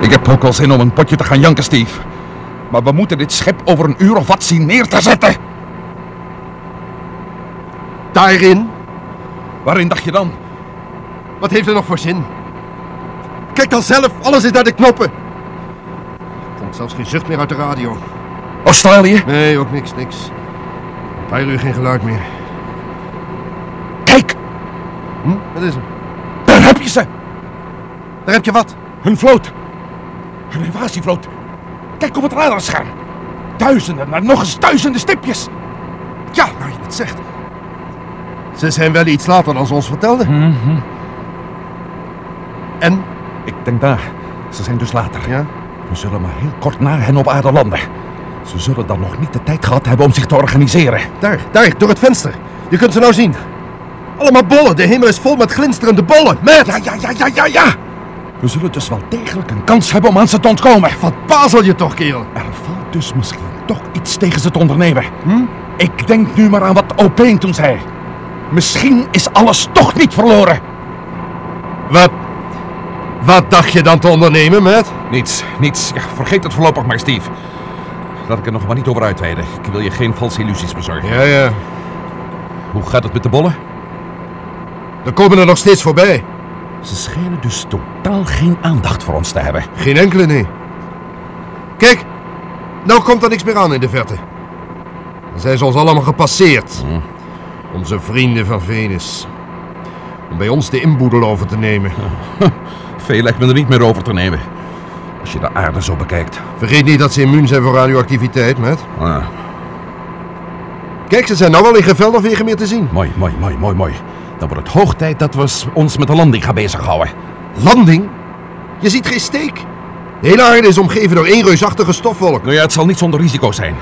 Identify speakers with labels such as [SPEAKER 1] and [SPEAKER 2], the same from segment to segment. [SPEAKER 1] Ik heb ook wel zin om een potje te gaan janken, Steve. Maar we moeten dit schip over een uur of wat zien neer te zetten.
[SPEAKER 2] Daarin?
[SPEAKER 1] Waarin dacht je dan?
[SPEAKER 2] Wat heeft er nog voor zin? Kijk dan zelf, alles is naar de knoppen. Er komt zelfs geen zucht meer uit de radio.
[SPEAKER 1] Australië?
[SPEAKER 2] Nee, ook niks, niks. Een paar uur geen geluid meer.
[SPEAKER 1] Kijk,
[SPEAKER 2] Hm? Wat is er?
[SPEAKER 1] daar heb je ze.
[SPEAKER 2] Daar heb je wat.
[SPEAKER 1] Hun vloot. Hun invasievloot. Kijk op het radarscherm. Duizenden, maar nog eens duizenden stipjes.
[SPEAKER 2] Ja, nou je het zegt. Ze zijn wel iets later dan ze ons vertelden. En?
[SPEAKER 1] Ik denk daar. Ze zijn dus later.
[SPEAKER 2] Ja?
[SPEAKER 1] We zullen maar heel kort na hen op aarde landen. Ze zullen dan nog niet de tijd gehad hebben om zich te organiseren.
[SPEAKER 2] Daar, daar, door het venster. Je kunt ze nou zien. Allemaal bollen. De hemel is vol met glinsterende bollen. Matt!
[SPEAKER 1] Ja, ja, ja, ja, ja, ja! We zullen dus wel degelijk een kans hebben om aan ze te ontkomen.
[SPEAKER 2] Wat bazel je toch, kerel?
[SPEAKER 1] Er valt dus misschien toch iets tegen ze te ondernemen. Ik denk nu maar aan wat Opeen toen zei. Misschien is alles toch niet verloren.
[SPEAKER 2] Wat? Wat dacht je dan te ondernemen, Matt?
[SPEAKER 1] Niets, niets. Ja, vergeet het voorlopig maar, Steve. Laat ik er nog maar niet over uitweiden. Ik wil je geen valse illusies bezorgen.
[SPEAKER 2] Ja, ja.
[SPEAKER 1] Hoe gaat het met de bollen?
[SPEAKER 2] Er komen er nog steeds voorbij.
[SPEAKER 1] Ze schijnen dus totaal geen aandacht voor ons te hebben.
[SPEAKER 2] Geen enkele, nee. Kijk, nou komt er niks meer aan in de verte. Dan zijn ze ons allemaal gepasseerd. Onze vrienden van Venus. Om bij ons de inboedel over te nemen.
[SPEAKER 1] Veel lijkt me er niet meer over te nemen. Als je de aarde zo bekijkt.
[SPEAKER 2] Vergeet niet dat ze immuun zijn voor radioactiviteit, Matt.
[SPEAKER 1] Ah,
[SPEAKER 2] Kijk, ze zijn nou al in geveld of wegen meer te zien.
[SPEAKER 1] mooi, mooi, mooi, mooi, mooi. Dan wordt het hoog tijd dat we s- ons met de landing gaan bezighouden.
[SPEAKER 2] Landing? Je ziet geen steek. De hele aarde is omgeven door één reusachtige stofwolk.
[SPEAKER 1] Nou ja, het zal niet zonder risico zijn.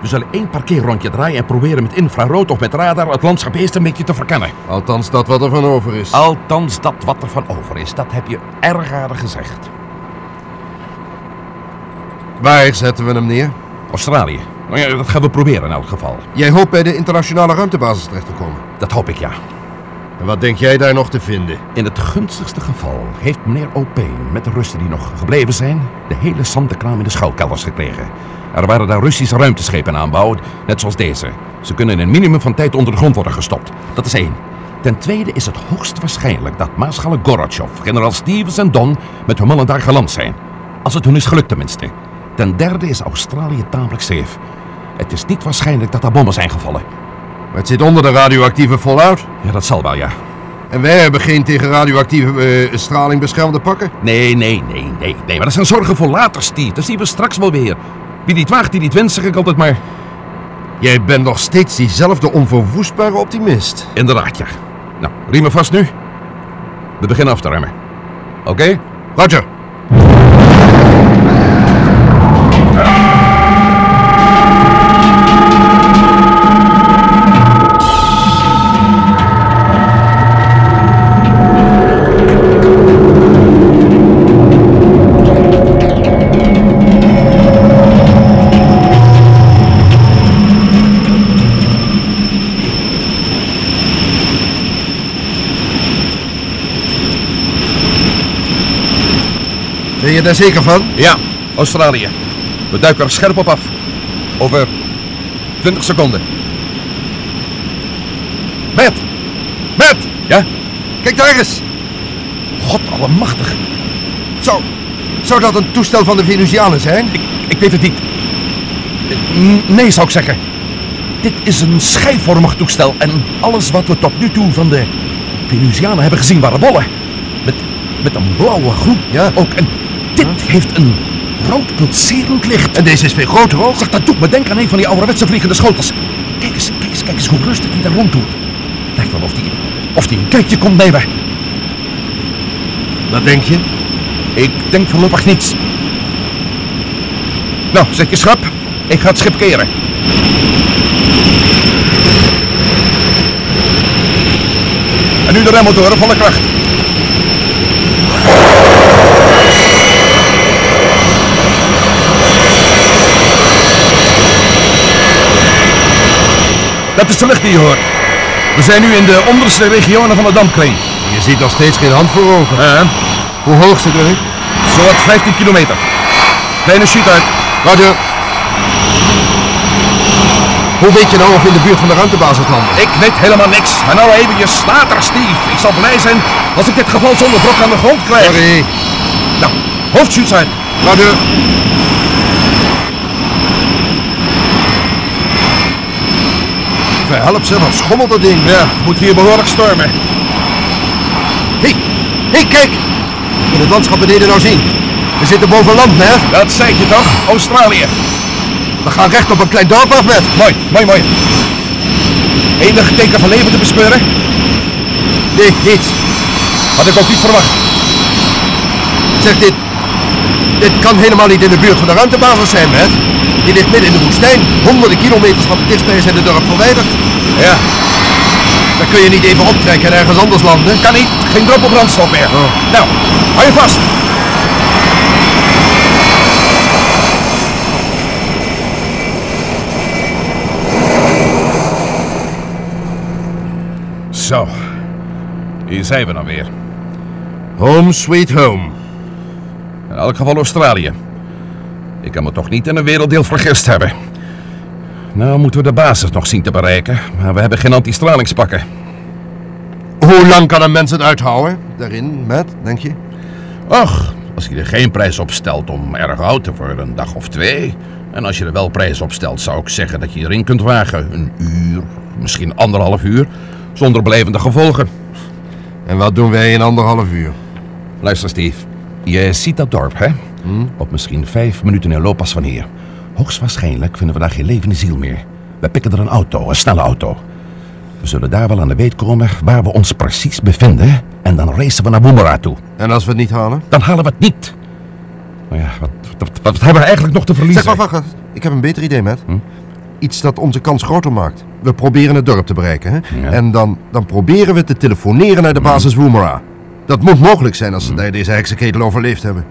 [SPEAKER 1] We zullen één parkeerrondje draaien en proberen met infrarood of met radar het landschap eerst een beetje te verkennen.
[SPEAKER 2] Althans, dat wat er van over is.
[SPEAKER 1] Althans, dat wat er van over is, dat heb je erg aardig gezegd.
[SPEAKER 2] Waar zetten we hem neer?
[SPEAKER 1] Australië. Nou ja, dat gaan we proberen in elk geval.
[SPEAKER 2] Jij hoopt bij de internationale ruimtebasis terecht te komen.
[SPEAKER 1] Dat hoop ik ja.
[SPEAKER 2] En wat denk jij daar nog te vinden?
[SPEAKER 1] In het gunstigste geval heeft meneer Opeen met de Russen die nog gebleven zijn, de hele zandenkraam in de schuilkelders gekregen. Er waren daar Russische ruimteschepen aan bouw, net zoals deze. Ze kunnen in een minimum van tijd onder de grond worden gestopt. Dat is één. Ten tweede is het hoogst waarschijnlijk dat Maarschalk Gorbachev, generaal Stevens en Don met hun mannen daar geland zijn. Als het hun is gelukt tenminste. Ten derde is Australië tamelijk safe. Het is niet waarschijnlijk dat daar bommen zijn gevallen.
[SPEAKER 2] Maar het zit onder de radioactieve fallout.
[SPEAKER 1] Ja, dat zal wel, ja.
[SPEAKER 2] En wij hebben geen tegen radioactieve eh, straling beschermde pakken.
[SPEAKER 1] Nee, nee, nee, nee, nee. Maar dat zijn zorgen voor later, Steve. Dat zien we straks wel weer. Wie niet waagt, die niet wenst, zeg ik altijd maar.
[SPEAKER 2] Jij bent nog steeds diezelfde onverwoestbare optimist.
[SPEAKER 1] Inderdaad, ja. Nou, riemen vast nu. We beginnen af te remmen. Oké?
[SPEAKER 2] Roger. Ben je daar zeker van?
[SPEAKER 1] Ja, Australië. We duiken er scherp op af. Over 20 seconden. Matt! Matt! Ja?
[SPEAKER 2] Kijk daar eens.
[SPEAKER 1] God allemachtig.
[SPEAKER 2] Zo. Zou dat een toestel van de Venusianen zijn?
[SPEAKER 1] Ik, ik weet het niet. Eh, Nee, zou ik zeggen. Dit is een schijfvormig toestel en alles wat we tot nu toe van de Venusianen hebben gezien waren bollen. Met met een blauwe gloed.
[SPEAKER 2] Ja.
[SPEAKER 1] Ook en dit heeft een rood pulserend licht.
[SPEAKER 2] Hm. En deze is veel groter hoor.
[SPEAKER 1] Zeg, dat doet me denken aan een van die ouderwetse vliegende schotels. Kijk eens, kijk eens, kijk eens hoe rustig hij daar rond doet. Lijkt wel of die, of die een kijkje komt nemen.
[SPEAKER 2] Wat denk je?
[SPEAKER 1] Ik denk voorlopig niets. Nou, zet je schrap. Ik ga het schip keren. En nu de remmotoren, volle kracht. Dat is de lucht die je hoort. We zijn nu in de onderste regionen van de dampkring.
[SPEAKER 2] Je ziet nog steeds geen hand voor ogen.
[SPEAKER 1] Eh,
[SPEAKER 2] Hoe hoog zit er?
[SPEAKER 1] Zowat 15 kilometer. Kleine shoot uit.
[SPEAKER 2] Roger. Hoe weet je nou of we in de buurt van de ruimtebasis landen?
[SPEAKER 1] Ik weet helemaal niks. En nou even je stater, Steve. Ik zal blij zijn als ik dit geval zonder brok aan de grond krijg.
[SPEAKER 2] Sorry.
[SPEAKER 1] Nou, hoofdshoots uit.
[SPEAKER 2] Roger. Verhelp ze, wat schommelt dat ding?
[SPEAKER 1] Ja, moet hier behoorlijk stormen.
[SPEAKER 2] Hé, hé, kijk! Kun je het landschap beneden nou zien? We zitten boven land, hè?
[SPEAKER 1] Dat zei ik je toch? Australië.
[SPEAKER 2] We gaan recht op een klein dorp af, met.
[SPEAKER 1] Mooi, mooi, mooi. Enig teken van leven te bespeuren?
[SPEAKER 2] Nee, niets.
[SPEAKER 1] Had ik ook niet verwacht.
[SPEAKER 2] Zeg, dit... Dit kan helemaal niet in de buurt van de ruimtebasis zijn, hè? Die ligt midden in de woestijn, honderden kilometers van het dichtstbijzijnde dorp verwijderd.
[SPEAKER 1] Ja,
[SPEAKER 2] Dan kun je niet even optrekken en ergens anders landen.
[SPEAKER 1] kan niet. Geen droppel brandstof meer.
[SPEAKER 2] Oh.
[SPEAKER 1] Nou, hou je vast. Zo, hier zijn we dan weer.
[SPEAKER 2] Home sweet home.
[SPEAKER 1] In elk geval Australië. Ik kan me toch niet in een werelddeel vergist hebben. Nou moeten we de basis nog zien te bereiken, maar we hebben geen antistralingspakken.
[SPEAKER 2] Hoe lang kan een mens het uithouden? Daarin, met, denk je?
[SPEAKER 1] Och, als je er geen prijs op stelt om erg oud te worden, een dag of twee. En als je er wel prijs op stelt, zou ik zeggen dat je erin kunt wagen. Een uur, misschien anderhalf uur, zonder blijvende gevolgen.
[SPEAKER 2] En wat doen wij in anderhalf uur?
[SPEAKER 1] Luister, Steve. Je ziet dat dorp, hè?
[SPEAKER 2] Hmm?
[SPEAKER 1] Op misschien vijf minuten in looppas van hier. Hoogstwaarschijnlijk vinden we daar geen levende ziel meer. We pikken er een auto, een snelle auto. We zullen daar wel aan de weet komen waar we ons precies bevinden. En dan racen we naar Boemera toe.
[SPEAKER 2] En als we het niet halen?
[SPEAKER 1] Dan halen we het niet. Nou ja, wat, wat, wat- wat hebben we eigenlijk nog te verliezen?
[SPEAKER 2] Zeg maar, wacht. eens. Ik heb een beter idee, Matt. Iets dat onze kans groter maakt. We proberen het dorp te bereiken, hè?
[SPEAKER 1] Ja.
[SPEAKER 2] En dan, dan proberen we te telefoneren naar de basis Woomera. Dat moet mogelijk zijn als ze daar deze heksenketel overleefd hebben.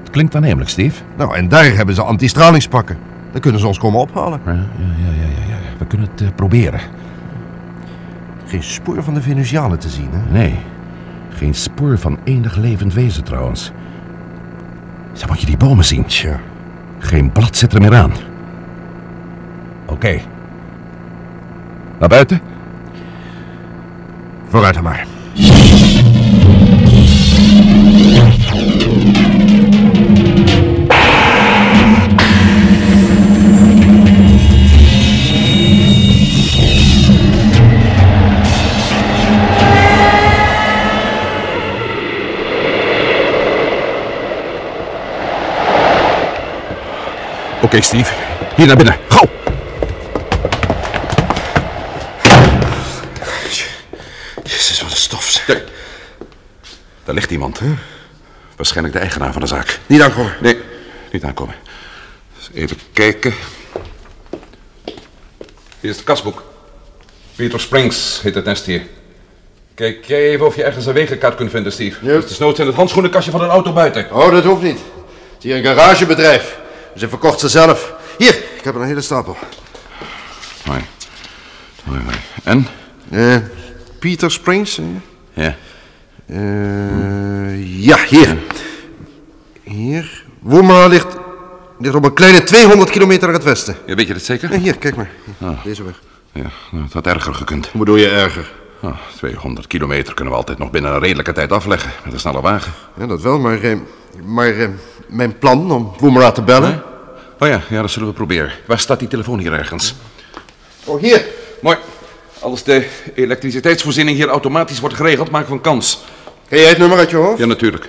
[SPEAKER 1] Het klinkt aannemelijk, Steve.
[SPEAKER 2] Nou, en daar hebben ze antistralingspakken. Dan kunnen ze ons komen ophalen.
[SPEAKER 1] Ja, ja, ja, ja, ja, ja. We kunnen het eh, proberen.
[SPEAKER 2] Geen spoor van de Venusianen te zien, hè?
[SPEAKER 1] Nee, geen spoor van enig levend wezen trouwens. Zeg, moet je die bomen zien?
[SPEAKER 2] Tja.
[SPEAKER 1] Geen blad zit er meer aan. Oké. Naar buiten?
[SPEAKER 2] Vooruit dan maar.
[SPEAKER 1] Oké, Steve. Hier naar binnen. Gauw!
[SPEAKER 2] Jezus, wat een stof.
[SPEAKER 1] Daar, daar ligt iemand. Hè? Waarschijnlijk de eigenaar van de zaak.
[SPEAKER 2] Niet aankomen.
[SPEAKER 1] Nee, niet aankomen. Dus even kijken. Hier is het kasboek. Peter Springs heet het nest hier. Kijk jij even of je ergens een wegenkaart kunt vinden, Steve.
[SPEAKER 2] Ja.
[SPEAKER 1] Het is nood in het handschoenenkastje van een auto buiten.
[SPEAKER 2] Oh, dat hoeft niet. Het is hier een garagebedrijf. Ze verkocht ze zelf. Hier, ik heb er een hele stapel.
[SPEAKER 1] Mooi. Mooi, mooi. En?
[SPEAKER 2] Eh, Peter Springs? eh?
[SPEAKER 1] Ja.
[SPEAKER 2] Eh, ja, hier. Hier. Woemera ligt, ligt op een kleine 200 kilometer naar het westen.
[SPEAKER 1] ja. Weet je dat zeker?
[SPEAKER 2] Eh, hier, kijk maar. Deze weg.
[SPEAKER 1] Ja, nou, het had erger gekund.
[SPEAKER 2] Ah. Hoe bedoel je erger?
[SPEAKER 1] Ah, 200 kilometer kunnen we altijd nog binnen een redelijke tijd afleggen. Met een snelle wagen.
[SPEAKER 2] Ja, dat wel, maar, eh, maar eh, mijn plan om Woemera te bellen...
[SPEAKER 1] Oh ja, ja, dat zullen we proberen. Waar staat die telefoon hier ergens?
[SPEAKER 2] Oh, hier.
[SPEAKER 1] Mooi. Als de elektriciteitsvoorziening hier automatisch wordt geregeld, maken we een kans.
[SPEAKER 2] Ken jij het nummer uit je hoofd?
[SPEAKER 1] Ja, natuurlijk.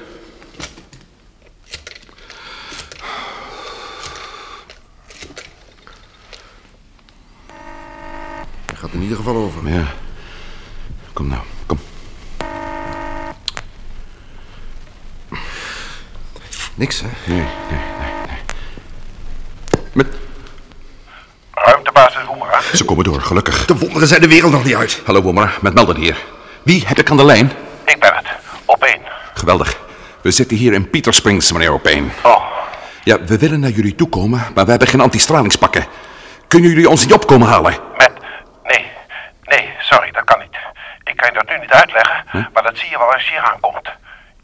[SPEAKER 2] Het gaat in ieder geval over.
[SPEAKER 1] Ja. Kom nou, kom.
[SPEAKER 2] Niks, hè?
[SPEAKER 1] Nee, nee, nee, nee. Met...
[SPEAKER 3] Ruimtebasis Oemra.
[SPEAKER 1] Ze komen door, gelukkig.
[SPEAKER 2] De wonderen zijn de wereld nog niet uit.
[SPEAKER 1] Hallo, Womera, met Melden hier. Wie heb ik aan de lijn?
[SPEAKER 3] Ik ben het. Op één.
[SPEAKER 1] Geweldig. We zitten hier in Peter Springs, meneer Opeen.
[SPEAKER 3] Oh,
[SPEAKER 1] Ja, we willen naar jullie toe komen, maar we hebben geen antistralingspakken. Kunnen jullie ons niet opkomen halen?
[SPEAKER 3] met... Nee, nee, sorry, dat kan niet. Ik kan je dat nu niet uitleggen, maar dat zie je wel als je hier aankomt.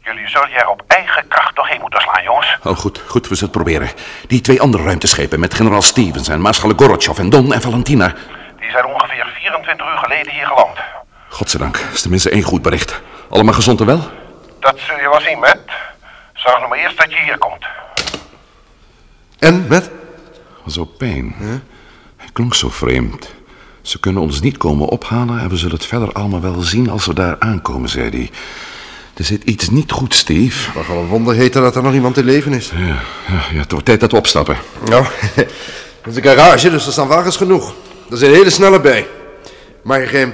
[SPEAKER 3] Jullie zullen je er op eigen kracht doorheen moeten slaan, jongens.
[SPEAKER 1] Oh, goed, goed, we zullen het proberen. Die twee andere ruimteschepen met generaal Stevens en maarschalk Gorotchev en Don en Valentina.
[SPEAKER 3] Die zijn ongeveer 24 uur geleden hier geland.
[SPEAKER 1] Godzijdank, dat is tenminste één goed bericht. Allemaal gezond en wel?
[SPEAKER 3] Dat zul je wel zien, Matt. Zorg nog maar eerst dat je hier komt.
[SPEAKER 2] En, met?
[SPEAKER 1] Was Opeen. Hij klonk zo vreemd. Ze kunnen ons niet komen ophalen en we zullen het verder allemaal wel zien als we daar aankomen, zei hij. Er zit iets niet goed, Steve.
[SPEAKER 2] Mag wel een wonder heten dat er nog iemand te leven is.
[SPEAKER 1] Ja, ja, ja, het wordt tijd dat we opstappen.
[SPEAKER 2] Nou, het is een garage, dus er staan wagens genoeg. Er zijn hele snelle bij. Maar, eh,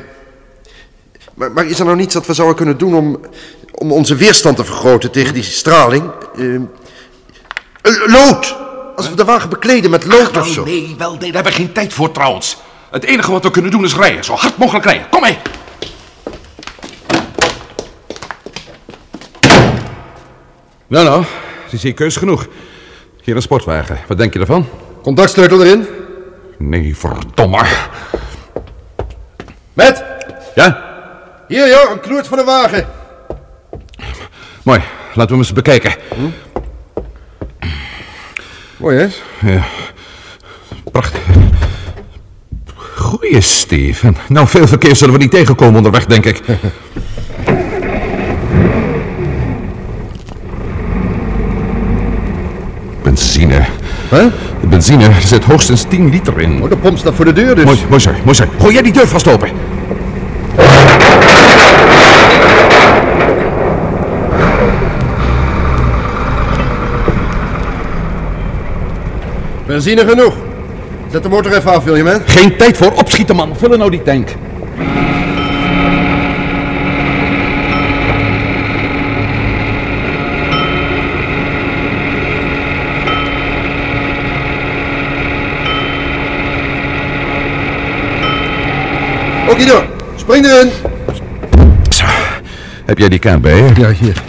[SPEAKER 2] maar, maar is er nou niets dat we zouden kunnen doen om, om onze weerstand te vergroten tegen die straling? Eh, eh, lood! Als we de wagen bekleden met lood of zo.
[SPEAKER 1] nee, wel, nee, daar hebben we geen tijd voor trouwens. Het enige wat we kunnen doen is rijden, zo hard mogelijk rijden. Kom mee! Nou, nou, het is hier keus genoeg. Hier een sportwagen, wat denk je ervan?
[SPEAKER 2] Contactsleutel erin.
[SPEAKER 1] Nee, verdomme.
[SPEAKER 2] Met!
[SPEAKER 1] Ja?
[SPEAKER 2] Hier joh, een knoert voor de wagen.
[SPEAKER 1] Mooi, laten we hem eens bekijken.
[SPEAKER 2] Mooi hè?
[SPEAKER 1] Prachtig. Goeie, Steven. Nou, veel verkeer zullen we niet tegenkomen onderweg, denk ik. Benzine.
[SPEAKER 2] Huh?
[SPEAKER 1] De benzine er zit hoogstens 10 liter in.
[SPEAKER 2] Oh, de pomp staat voor de deur dus.
[SPEAKER 1] Mooi, mooi zo, mooi zo. Gooi jij die deur vast open.
[SPEAKER 2] Benzine genoeg. Zet de motor even af, wil je man?
[SPEAKER 1] Geen tijd voor opschieten, man. Vullen nou die tank.
[SPEAKER 2] Okido, spring erin.
[SPEAKER 1] Zo. Heb jij die kaart bij je?
[SPEAKER 2] Ja, hier.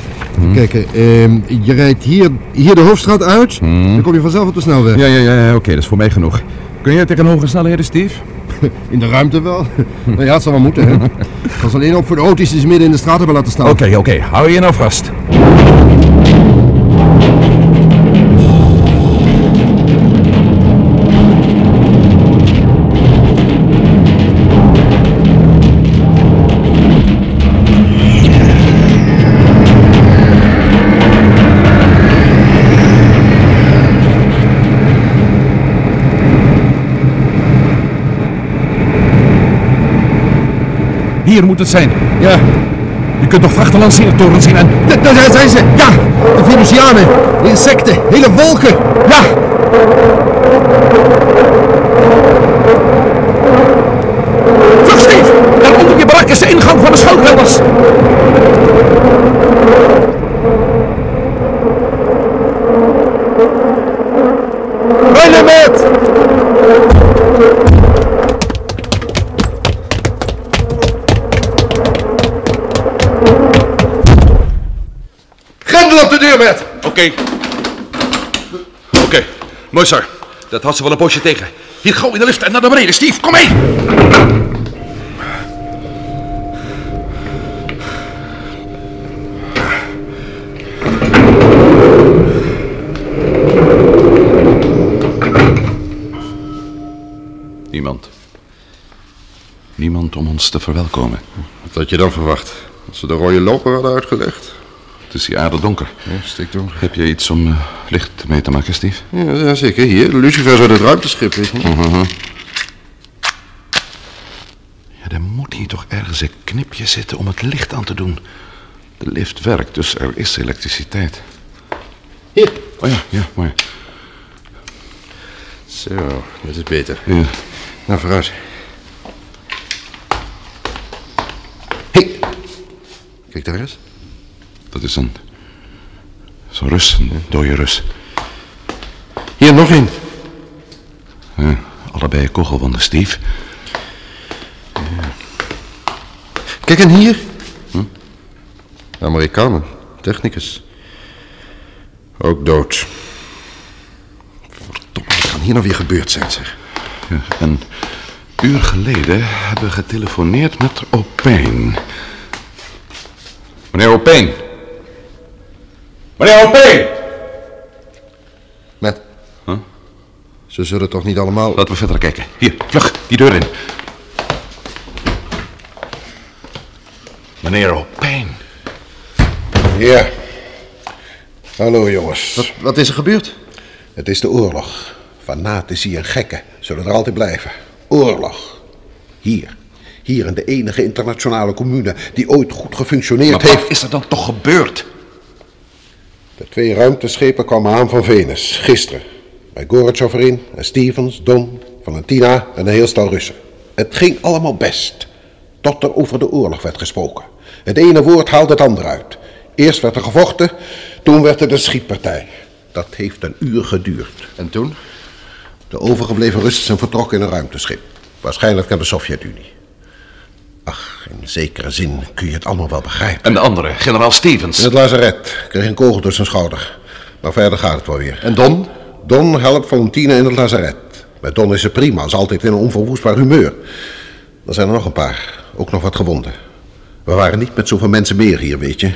[SPEAKER 2] Kijk, eh, ehm, je rijdt hier, hier de hoofdstraat uit, dan kom je vanzelf op de snelweg.
[SPEAKER 1] Ja, ja, ja. Oké, dat is voor mij genoeg. Kun jij tegen hoge snelheden, Steve?
[SPEAKER 2] In de ruimte wel. nou ja, het zal wel moeten, hè. Ik was alleen op voor de auto's die ze midden in de straat hebben laten staan.
[SPEAKER 1] Oké, oké. Hou je nou vast. Hier moet het zijn.
[SPEAKER 2] Ja,
[SPEAKER 1] Je kunt nog vrachtlanceertorens zien en...
[SPEAKER 2] Da- da- daar zijn ze. Ja, de Venusianen, de insecten, hele wolken. Ja.
[SPEAKER 1] Vlug, Steve! Daar onder je barak is de ingang van de schuilkelders.
[SPEAKER 2] Rennen met! Grendel op de deur, met!
[SPEAKER 1] Oké. Oké. Mooi, sir. Dat had ze wel een poosje tegen. Hier, gauw in de lift en naar beneden. Steve, kom mee! Niemand. Niemand om ons te verwelkomen.
[SPEAKER 2] Wat had je dan verwacht? Als ze de rode loper hadden uitgelegd?
[SPEAKER 1] Het is hier aardig donker.
[SPEAKER 2] Ja, stikdonker.
[SPEAKER 1] Heb je iets om eh, licht mee te maken, Steve?
[SPEAKER 2] Ja, ja, zeker. Hier, de lucifers uit het ruimteschip, weet je.
[SPEAKER 1] Ja, er moet hier toch ergens een knipje zitten om het licht aan te doen. De lift werkt, dus er is elektriciteit.
[SPEAKER 2] Hier.
[SPEAKER 1] Oh ja, ja, mooi.
[SPEAKER 2] Zo, dat is beter.
[SPEAKER 1] Ja.
[SPEAKER 2] Nou, vooruit. Hé. Kijk daar eens.
[SPEAKER 1] Dat is een... Zo'n Rus, een dode Rus.
[SPEAKER 2] Hier, nog één.
[SPEAKER 1] Ja, allebei kogelwonden, Steve.
[SPEAKER 2] Kijk, en hier? Hm? Amerikanen, technicus. Ook dood. Verdomme, wat kan hier nou weer gebeurd zijn, zeg?
[SPEAKER 1] Ja, Een uur geleden hebben we getelefoneerd met Opeen. Meneer Opeen! Meneer Opeen!
[SPEAKER 2] Met. Ze zullen toch niet allemaal...
[SPEAKER 1] Laten we verder kijken. Hier, vlug, die deur in. Meneer Opeen.
[SPEAKER 4] Ja. Hallo jongens.
[SPEAKER 2] Wat is er gebeurd?
[SPEAKER 4] Het is de oorlog. Fanatici en gekken zullen er altijd blijven. Oorlog. Hier. Hier in de enige internationale commune die ooit goed gefunctioneerd
[SPEAKER 1] Maar
[SPEAKER 4] heeft.
[SPEAKER 1] wat is er dan toch gebeurd?
[SPEAKER 4] De twee ruimteschepen kwamen aan van Venus, gisteren. Bij Gorbachev erin, en Stevens, Don, Valentina en een heel stel Russen. Het ging allemaal best, tot er over de oorlog werd gesproken. Het ene woord haalde het andere uit. Eerst werd er gevochten, toen werd er de schietpartij. Dat heeft een uur geduurd.
[SPEAKER 2] En toen?
[SPEAKER 4] De overgebleven Russen zijn vertrokken in een ruimteschip. Waarschijnlijk naar de Sovjet-Unie. Ach, in zekere zin kun je het allemaal wel begrijpen.
[SPEAKER 1] En de andere, generaal Stevens.
[SPEAKER 4] In het lazaret kreeg een kogel door zijn schouder. Maar verder gaat het wel weer.
[SPEAKER 2] En Don?
[SPEAKER 4] Don helpt Valentina in het lazaret. Bij Don is ze prima, is altijd in een onverwoestbaar humeur. Er zijn er nog een paar, ook nog wat gewonden. We waren niet met zoveel mensen meer hier, weet je.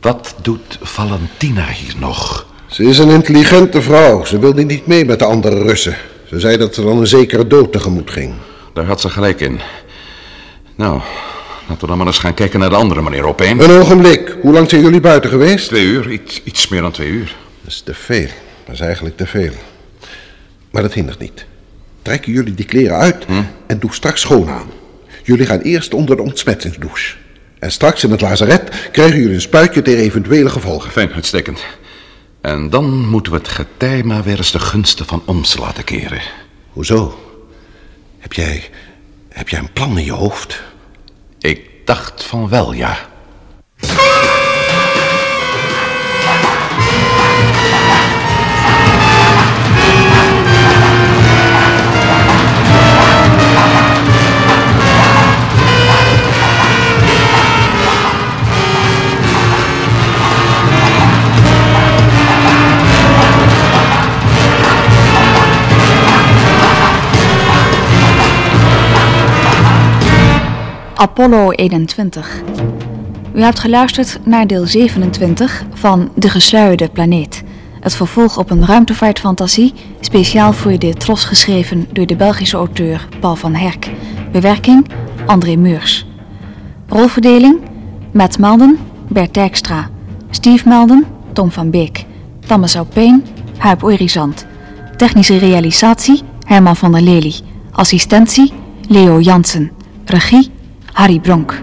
[SPEAKER 1] Wat doet Valentina hier nog?
[SPEAKER 4] Ze is een intelligente vrouw. Ze wilde niet mee met de andere Russen. Ze zei dat ze dan een zekere dood tegemoet ging.
[SPEAKER 1] Daar had ze gelijk in. Nou, laten we dan maar eens gaan kijken naar de andere, meneer Opeen.
[SPEAKER 4] Een ogenblik. Hoe lang zijn jullie buiten geweest?
[SPEAKER 1] Twee uur, iets, iets meer dan twee uur.
[SPEAKER 4] Dat is te veel. Dat is eigenlijk te veel. Maar dat hindert niet. Trekken jullie die kleren uit en doe straks schoon aan. Jullie gaan eerst onder de ontsmettingsdouche. En straks in het lazaret krijgen jullie een spuitje tegen eventuele gevolgen.
[SPEAKER 1] Fijn, uitstekend. En dan moeten we het getij maar weer eens de gunsten van ons laten keren.
[SPEAKER 4] Hoezo? Heb jij, heb jij een plan in je hoofd?
[SPEAKER 1] Ik dacht van wel, ja.
[SPEAKER 5] Apollo 21. U hebt geluisterd naar deel 27 van De Gesluierde Planeet. Het vervolg op een ruimtevaartfantasie, speciaal voor de Tros geschreven door de Belgische auteur Paul van Herk. Bewerking André Meurs. Rolverdeling Matt Melden, Bert Dijkstra. Steve Melden, Tom van Beek. Thomas Aupeen, Huip Orizant. Technische realisatie Herman van der Lely. Assistentie Leo Jansen. Regie Harry Bronk.